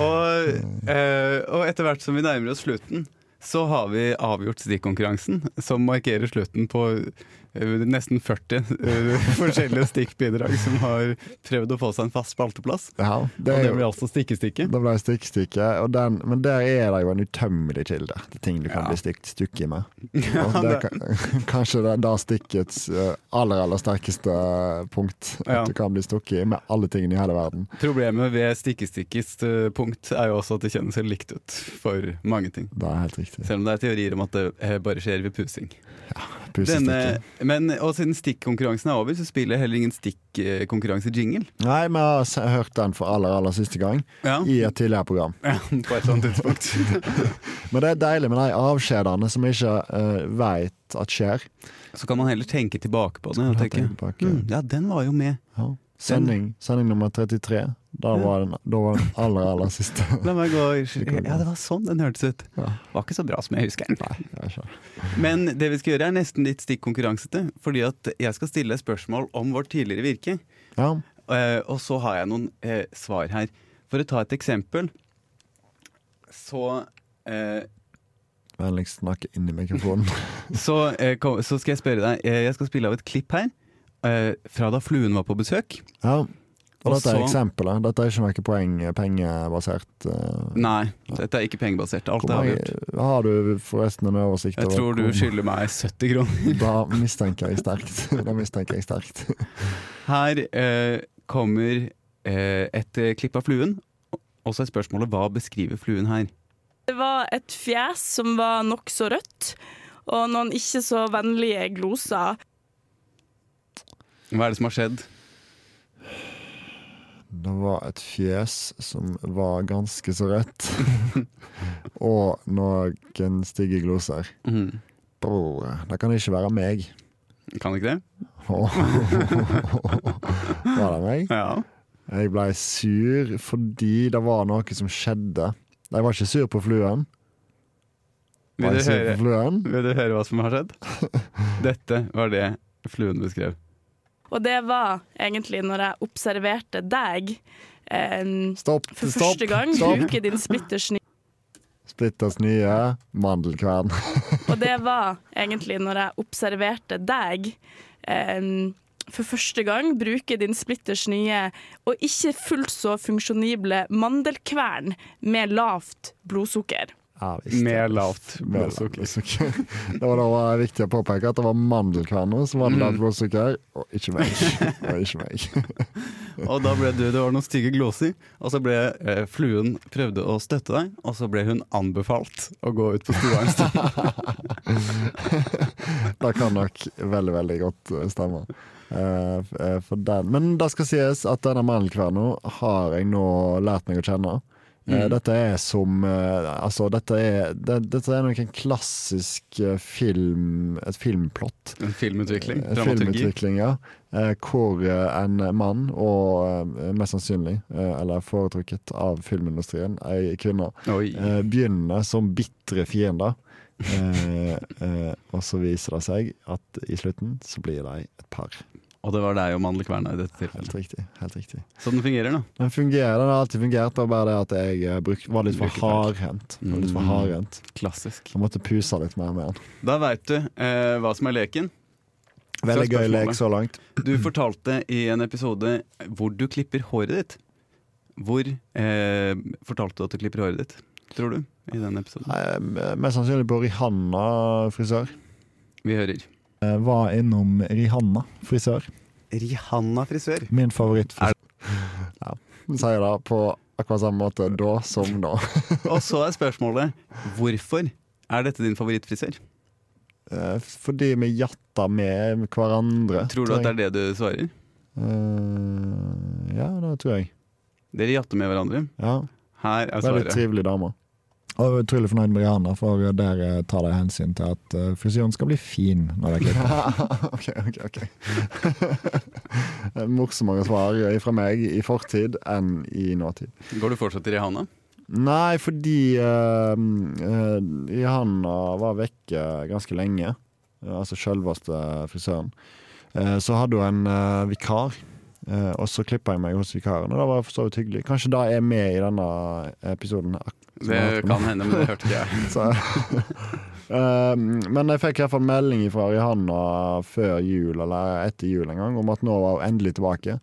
S1: Og, eh, og etter hvert som vi nærmer oss slutten, så har vi avgjort stikkonkurransen, som markerer slutten på eh, nesten 40 eh, forskjellige stikkbidrag som har prøvd å få seg en fast spalteplass.
S2: Ja,
S1: Og
S2: det er
S1: det
S2: jo
S1: blir altså stikkestikke.
S2: Da ble jeg stikkstykke, og den, men der er det jo en utømmelig kilde til ting du kan
S1: Ja.
S2: bli stykt stykke med. Og det er ka- kanskje det er da stikkets eh, aller, aller sterkeste eh, punkt. At
S1: Ja.
S2: du kan bli stukket i med alle tingene i hele verden.
S1: Problemet ved stikkestikkes eh, punkt er jo også at det kjennes helt likt ut for mange ting.
S2: Det er helt riktig.
S1: Selv om det er teorier om at det eh, bare skjer ved pusing.
S2: Pusestikke.
S1: Denne, men, og siden stikkonkurransen er over, så spiller jeg heller ingen stikkonkurranse-jingle.
S2: Nei, vi har s- hørt den for aller, aller siste gang
S1: Ja.
S2: i et tidligere program.
S1: Ja, på et eller annet tidspunkt.
S2: Men det er deilig med de avskjedene som jeg ikke uh, veit at skjer.
S1: Så kan man heller tenke tilbake på det. Og
S2: Skal vi ta
S1: tenke,
S2: tilbake?
S1: mm, ja, den var jo med.
S2: Ja. Sending, sending nummer 33. Da var den, da var den aller, aller siste.
S1: La meg gå Ja, det var sånn den hørtes ut. Var ikke så bra som jeg husker den.
S2: Nei, jeg skjønner.
S1: Men det vi skal gjøre, er nesten litt stikkonkurransete. Fordi at jeg skal stille spørsmål om vårt tidligere virke.
S2: Ja.
S1: Eh, og så har jeg noen eh, svar her. For å ta et eksempel, så eh,
S2: Vennligst snakke inn i mikrofonen.
S1: Så, eh, kom, så skal jeg spørre deg. Eh, Jeg skal spille av et klipp her. Eh, fra da fluen var på besøk.
S2: Ja. Og
S1: Og
S2: dette er
S1: så-
S2: eksempelet. Dette er ikke noe poeng, pengebasert. eh.
S1: Nei, dette er ikke pengebasert. Alt
S2: Hvor
S1: er
S2: mange-
S1: avgjort.
S2: Har du forresten en oversikt
S1: Jeg tror du
S2: hvor-
S1: skylder meg 70 kroner.
S2: Da mistenker jeg sterkt. Da mistenker jeg sterkt.
S1: Her eh, kommer eh, et eh, klipp av fluen. Og så er spørsmålet hva beskriver fluen her?
S4: Det var et fjes som var nokså rødt, og noen ikke så vennlige gloser.
S1: Hva er det som har skjedd?
S2: Det var et fjes som var ganske så rødt. Og noen stygge gloser.
S1: Mhm.
S2: Bror, det kan ikke være meg.
S1: Kan ikke det?
S2: Var det meg?
S1: Ja.
S2: Jeg ble sur fordi det var noe som skjedde. Jeg var ikke sur på fluen. Var
S1: Vil du
S2: jeg sur på
S1: høre,
S2: fluen?
S1: vil du høre hva som har skjedd? Dette var det fluen beskrev.
S4: Og det var egentlig når jeg observerte deg eh,
S2: Stopp,
S4: for
S2: stopp,
S4: første gang
S2: stopp.
S4: bruke din splitters nye.
S2: Splitters nye mandelkvern.
S4: Og det var egentlig når jeg observerte deg eh, for første gang bruke din splitters nye og ikke fullt så funksjonible mandelkvern med lavt blodsukker.
S2: Ja, visst.
S1: Med lavt
S2: Med lavt
S1: blodsukker.
S2: blodsukker. Det var da var det viktig å påpeke at det var mandelkverner som
S1: Mm.
S2: hadde lavt blodsukker, og ikke meg. Og ikke meg.
S1: Og da ble du, det var noen stygge gloser, og så ble eh, fluen prøvde å støtte deg, og så ble hun anbefalt å gå ut på stua en stund.
S2: Det kan nok veldig, veldig godt eh, stemme. Eh, f- eh, for den. Men det skal sies at denne mandelkverna har jeg nå lært meg å kjenne. Eh, Dette er som eh, Altså, dette er, det, dette er nok en klassisk eh, film Et filmplott.
S1: En filmutvikling,
S2: Eh,
S1: dramaturgi.
S2: Filmutvikling, ja. Eh, Hvor eh, en mann, og eh, mest sannsynlig, eh, eller foretrukket av filmindustrien, ei kvinne,
S1: Oi.
S2: eh, begynner som bitre fiender. Eh, eh, og så viser det seg at i slutten så blir de et par.
S1: Og det var deg og mandelkverna i dette
S2: Helt
S1: tilfellet.
S2: riktig. helt riktig
S1: Så den fungerer, da.
S2: Den fungerer, den har alltid fungert, det var bare det at jeg eh, bruk, var litt for
S1: Bruker feil.
S2: hardhendt. Var litt for
S1: Mm.
S2: hardhendt.
S1: Klassisk.
S2: Jeg måtte puse litt mer med den.
S1: Da veit du eh, hva som er leken. Så
S2: Veldig
S1: er
S2: gøy lek
S1: spørsmålet.
S2: så langt.
S1: Du fortalte i en episode hvor du klipper håret ditt. Hvor eh, fortalte du at du klipper håret ditt, tror du? I den episoden.
S2: Eh, Mest sannsynlig på Rihanna frisør.
S1: Vi hører.
S2: Eh, Var innom Rihanna frisør.
S1: Rihanna frisør.
S2: Min favorittfrisør. Ja. Sier det på akkurat samme måte da som nå.
S1: Og så er spørsmålet hvorfor er dette din favorittfrisør?
S2: Eh, Fordi vi jatta med hverandre. Eh,
S1: Tror du at det er det du svarer?
S2: Ja, det tror jeg.
S1: Dere jatter med hverandre.
S2: Ja.
S1: Her er
S2: Veldig
S1: svaret.
S2: trivelig dame. Og jeg er utrolig fornøyd med Rihanna, for der eh, tar de hensyn til at eh, frisyren skal bli fin når de klipper. ok, ok, ok. Morsommere svar fra meg i fortid enn i nåtid.
S1: Går du fortsatt til Rihanna?
S2: Nei, fordi eh, eh, Rihanna var vekke ganske lenge. Eh, altså selveste frisøren. Eh, så hadde hun en eh, vikar Eh, og så klippa jeg meg hos vikaren, og det var for så vidt hyggelig. Kanskje da er jeg med i denne episoden. ak- som jeg har hørt
S1: Det
S2: på nå.
S1: kan hende, men det hørte ikke jeg.
S2: Så, Eh, men jeg fikk i hvert fall melding fra Rihanna før jul eller etter jul en gang om at nå var hun endelig tilbake.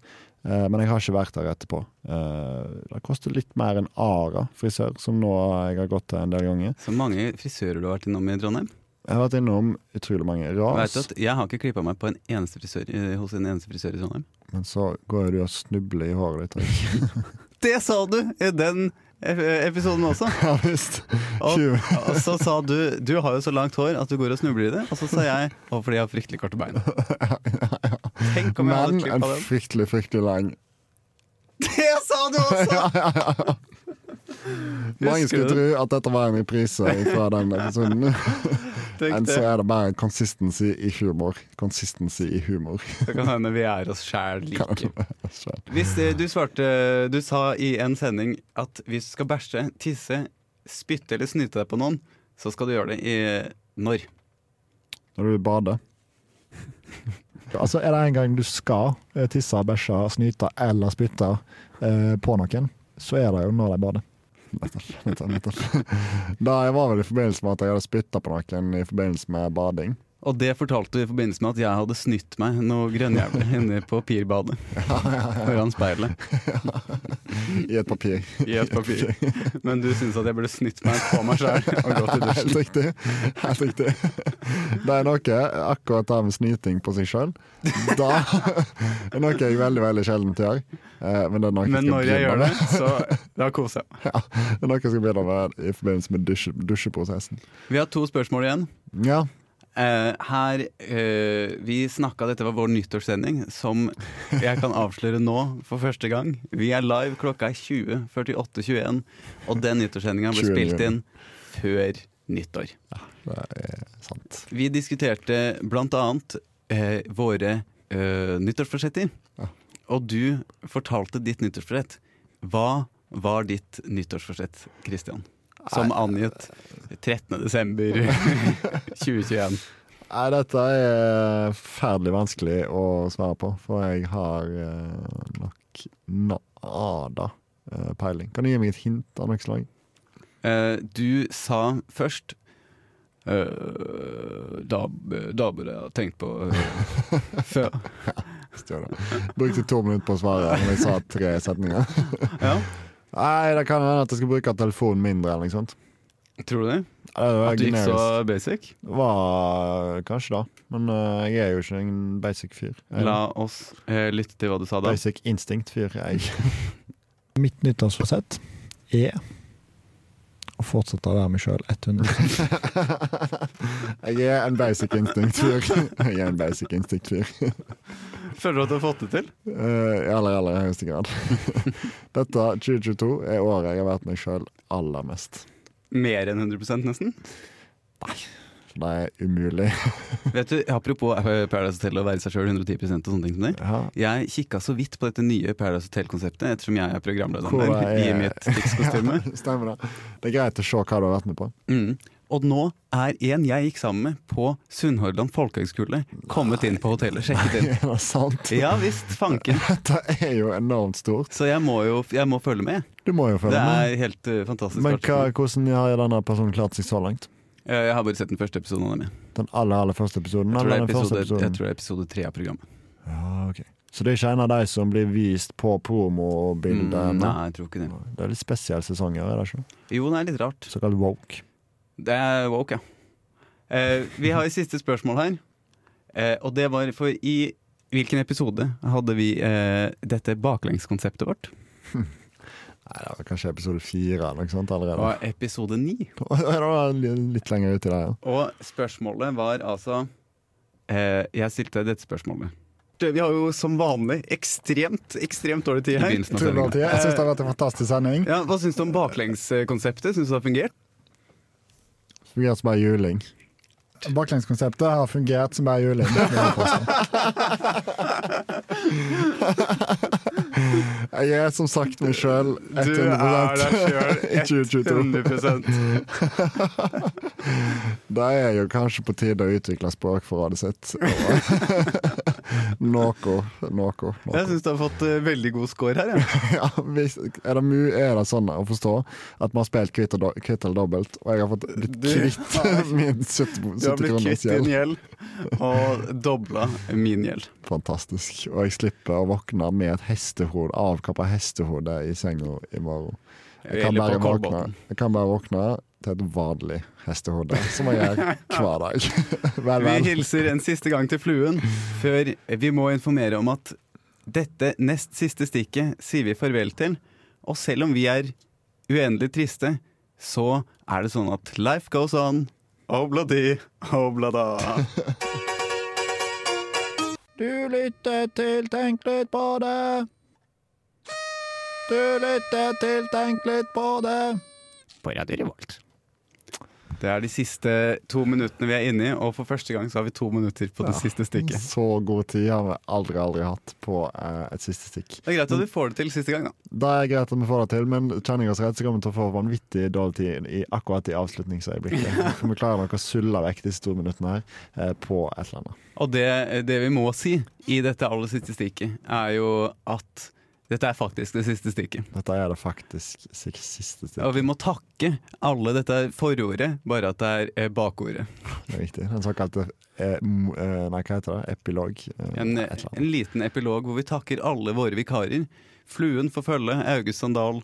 S2: Eh, men jeg har ikke vært der etterpå. Eh, det koster litt mer enn Ara frisør, som nå jeg har gått til en del ganger.
S1: Så mange frisører du har vært innom i Trondheim.
S2: Jeg har vært innom utrolig mange
S1: Vet du
S2: ras,
S1: at jeg har ikke klippa meg på en eneste frisør, eh, hos en eneste frisør i Trondheim.
S2: men så går jo du og snubler i håret ditt.
S1: Det sa du i den eh, episoden også!
S2: Ja visst.
S1: Og,
S2: Tjue.
S1: og så sa du du har jo så langt hår at du går og snubler i det. Og så sa jeg å, fordi jeg har fryktelig korte bein. Tenk om jeg hadde et
S2: Men en
S1: klipp av den.
S2: fryktelig, fryktelig lang
S1: Det sa du også!
S2: Mange skulle
S1: du
S2: tro at dette var en reprise fra den episoden.
S1: Tenk
S2: Men så
S1: det.
S2: er det bare consistency i humor. Consistency i humor.
S1: Det kan hende vi er oss sjæl like.
S2: Så,
S1: Hvis eh, du svarte Du sa i en sending at hvis du skal bæsje, tisse, spytte eller snyte deg på noen, så skal du gjøre det i eh, når?
S2: Når du bader.
S10: Altså, er det en gang du skal eh, tisse, bæsje, snyte eller spytte eh, på noen, så er det jo når de bader.
S2: Nettopp, nettopp. Da jeg var vel i forbindelse med at jeg hadde spytta på noen i forbindelse med bading.
S1: Og det fortalte du i forbindelse med at jeg hadde snytt meg noe grønnjævler inne på pirbadet. Foran speilet.
S2: I et papir.
S1: I et papir. Men du syntes at jeg burde snytt meg på meg sjæl og gått i
S2: Helt
S1: dusjen.
S2: riktig. Helt riktig. Det er noe akkurat det med snyting på seg sjøl. Det er noe jeg veldig veldig sjelden gjør. Eh, Men det er noe
S1: Men
S2: skal
S1: når jeg
S2: begynne
S1: gjør
S2: med.
S1: det, så da koser jeg meg.
S2: Ja, det er noe jeg skal begynne med i forbindelse med dusje, dusjeprosessen.
S1: Vi har to spørsmål igjen.
S2: Ja,
S1: Eh, her eh, Vi snakka, dette var vår nyttårssending, som jeg kan avsløre nå for første gang. Vi er live, klokka er 20.48.21, og den nyttårssendinga ble
S2: 20.
S1: spilt inn før nyttår.
S2: det er sant.
S1: Vi diskuterte blant annet eh, våre eh, nyttårsforsetter,
S2: Ja.
S1: og du fortalte ditt nyttårsforsett. Hva var ditt nyttårsforsett, Christian? Som angitt 13.12.2021.
S2: Nei, dette er forferdelig vanskelig å svare på, for jeg har eh, nok nada eh, peiling. Kan du gi meg et hint av noe slag?
S1: Eh, du sa først eh, da, da burde jeg ha tenkt på eh, før.
S2: Stjør det. Brukte to minutter på å svare, men jeg sa tre setninger.
S1: Ja,
S2: Nei, det kan hende at jeg skal bruke telefonen mindre eller noe sånt.
S1: tror du det?
S2: Det var
S1: At du gikk så
S2: generisk.
S1: basic?
S2: Var kanskje da, men eh, jeg er jo ikke en basic fyr. Jeg er
S1: La oss eh, lytte til hva du sa
S2: en
S1: da.
S2: Basic instinct fyr, jeg.
S10: Mitt nyttårsforsett er å fortsette å være meg sjøl 100
S2: Jeg er en basic instinct-fyr. Jeg er en basic instinct-fyr.
S1: Føler du at du har fått det til?
S2: Eh, I aller, aller høyeste grad. Dette, 2022, er året jeg har vært meg sjøl aller mest.
S1: Mer enn 100 nesten?
S2: Så Det er umulig.
S1: Vet du, Apropos eh, Paradise Hotel og være seg sjøl 110 og sånne ting som det.
S2: Ja.
S1: Jeg kikka så vidt på dette nye Paradise Hotel-konseptet, ettersom jeg er programleder
S2: Hvor er
S1: i
S2: jeg?
S1: mitt Tix-kostyme.
S2: Stemmer det. Det er greit å se hva du har vært med på.
S1: Mm. Og nå er en jeg gikk sammen med på Sunnhordland folkehøgskole, kommet inn på hotellet, sjekket inn.
S2: Er det sant?
S1: Ja visst, fanken.
S2: Dette er jo enormt stort.
S1: Så jeg må jo jeg må følge med.
S2: Du må jo
S1: Det
S2: følge med.
S1: er helt eh, fantastisk.
S2: Men hva,
S1: artig.
S2: hvordan har denne personen klart seg så langt?
S1: Eh, Jeg har bare sett den første episoden av dem.
S2: Den aller, aller første episoden?
S1: Jeg tror det er
S2: Eller den
S1: episode,
S2: første
S1: jeg
S2: episoden?
S1: tror det er episode tre av programmet.
S2: Ja, ok. Så det er ikke en av de som blir vist på
S1: Mm,
S2: promobildene?
S1: nei, jeg tror ikke det.
S2: Det er litt spesielle sesonger, er det ikke?
S1: Jo, det er litt rart.
S2: Såkalt woke.
S1: Det er woke, ja. Eh, vi har et siste spørsmål her. Eh, og det var for i hvilken episode hadde vi eh, dette baklengskonseptet vårt?
S2: Nei, det var kanskje episode fire eller noe sånt
S1: Det
S2: allerede.
S1: var episode ni.
S2: det var li- litt lenger uti der, ja.
S1: Og spørsmålet var altså eh, Jeg stilte dette spørsmålet. Vi har jo som vanlig ekstremt ekstremt dårlig tid her.
S2: Tror du alltid? Jeg syns det har vært en fantastisk sending.
S1: Ja, hva syns du om baklengskonseptet? Syns du det har fungert?
S2: Fungerer som bare juling.
S10: Baklengskonseptet har fungert som bare juling. Det vil jeg påstå.
S2: Jeg er som sagt meg sjøl
S1: Du er
S2: 100
S1: deg
S2: i
S1: sjøl
S2: 2022.
S1: 100
S2: Det er jo kanskje på tide å utvikle språkforrådet sitt. Noe. Noe.
S1: Jeg syns du har fått eh, veldig god score her. Ja.
S2: Ja, hvis, er, det mu, er det sånn å forstå at vi har spilt kvitt, og do, kvitt eller dobbelt, og jeg har fått blitt
S1: Du-
S2: kvitt min
S1: Du
S2: 70,
S1: har blitt
S2: 70 kroners
S1: kvitt din gjeld
S2: gjeld?
S1: og dobla min gjeld.
S2: Fantastisk. Og jeg slipper å våkne med et hestehode, avkappa hestehode i senga i morgen. Jeg kan,
S1: Eller
S2: bare
S1: på
S2: våkne,
S1: Kolbotn.
S2: jeg kan bare våkne til et vanlig hestehode, som jeg gjør hver dag. Vel,
S1: Vi
S2: vel.
S1: hilser en siste gang til fluen, før vi må informere om at dette nest siste stikket sier vi farvel til. Og selv om vi er uendelig triste, så er det sånn at life goes on. Obladi, oblada.
S10: Du lytter til Tenk litt på det. Du lytter til Tenk litt på det.
S1: På Radio Revolt. Det er de siste to minuttene vi er inne i, og for første gang så har vi to minutter på det siste stykket.
S2: Så god tid har vi aldri, aldri hatt på eh, et siste stikk.
S1: Det er greit at vi får det til siste gang, da.
S2: Det er greit at vi får det til, men kjenner jeg oss rett, så kommer vi til å få vanvittig dårlig tid i akkurat i avslutningsøyeblikket. For vi klarer nok å sulle vekk disse to minuttene her eh, på et eller annet.
S1: Og det, det vi må si i dette aller siste stikket, er jo at dette er faktisk det siste stikket.
S2: Dette er det faktisk sikkert siste stikk.
S1: Og vi må takke alle dette er forordet, bare at det er eh, bakordet.
S2: Det er viktig. Den såkalte eh, mo- eh, Nei, hva heter det? Epilog? Eh,
S1: En,
S2: et eller
S1: en
S2: annet.
S1: liten epilog hvor vi takker alle våre vikarer. Fluen for følge, August Sandal,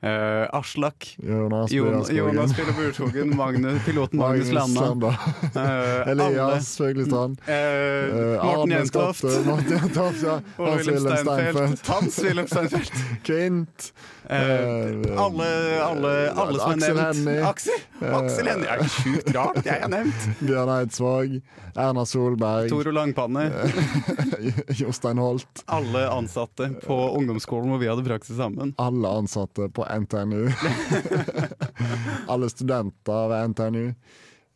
S1: eh, Aslak,
S2: Jonas
S1: Jon, Jonas
S2: Bjørnskogen.
S1: Pille Burskogen, Magne, piloten Magnus Landa, eh, alle.
S2: Elias Fuglesand.
S1: eh,
S2: eh,
S1: Morten
S2: Arne eh,
S1: Jentoft,
S2: Skotte, Morten Jentoft, ja.
S1: Ole
S2: Hans
S1: Wilhelm
S2: Wilhelm
S1: Steinfeld,
S2: Steinfeld.
S1: Hans Wilhelm Steinfeld.
S2: Kvint.
S1: Eh,
S2: Eh,
S1: alle, alle, alle som er
S2: Aksel
S1: nevnt.
S2: Hennie.
S1: Aksel, Aksel Hennie. Er det sjukt rart? Jeg er nevnt.
S2: Bjørn Eidsvåg. Erna Solberg.
S1: Toro Langpanne.
S2: eh, Jostein Holt.
S1: Alle ansatte på ungdomsskolen hvor vi hadde praksis sammen.
S2: Alle ansatte på NTNU. alle studenter ved NTNU.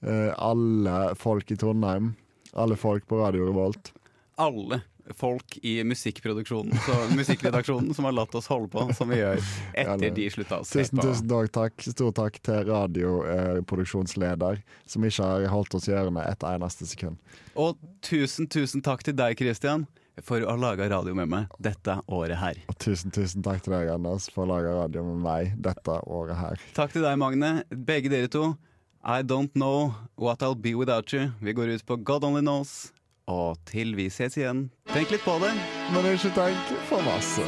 S2: Eh, alle folk i Trondheim. Alle folk på Radio Revolt.
S1: Alle folk i musikkproduksjonen, så musikkredaksjonen, som har latt oss holde på som vi gjør etter de slutta å se
S2: Tusen,
S1: på.
S2: tusen takk, takk. Stor takk til radioproduksjonsleder, eh, som ikke har holdt oss i ørene et eneste sekund.
S1: Og tusen, tusen takk til deg, Christian, for å ha laga radio med meg dette året her.
S2: Og tusen, tusen takk til deg, Anders, for å lage radio med meg dette året her.
S1: Takk til deg, Magne. Begge dere to. I don't know what I'll be without you. Vi går ut på God only knows. Og til vi ses igjen, tenk litt på det.
S2: Men ikke tenk for masse.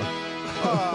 S1: Ha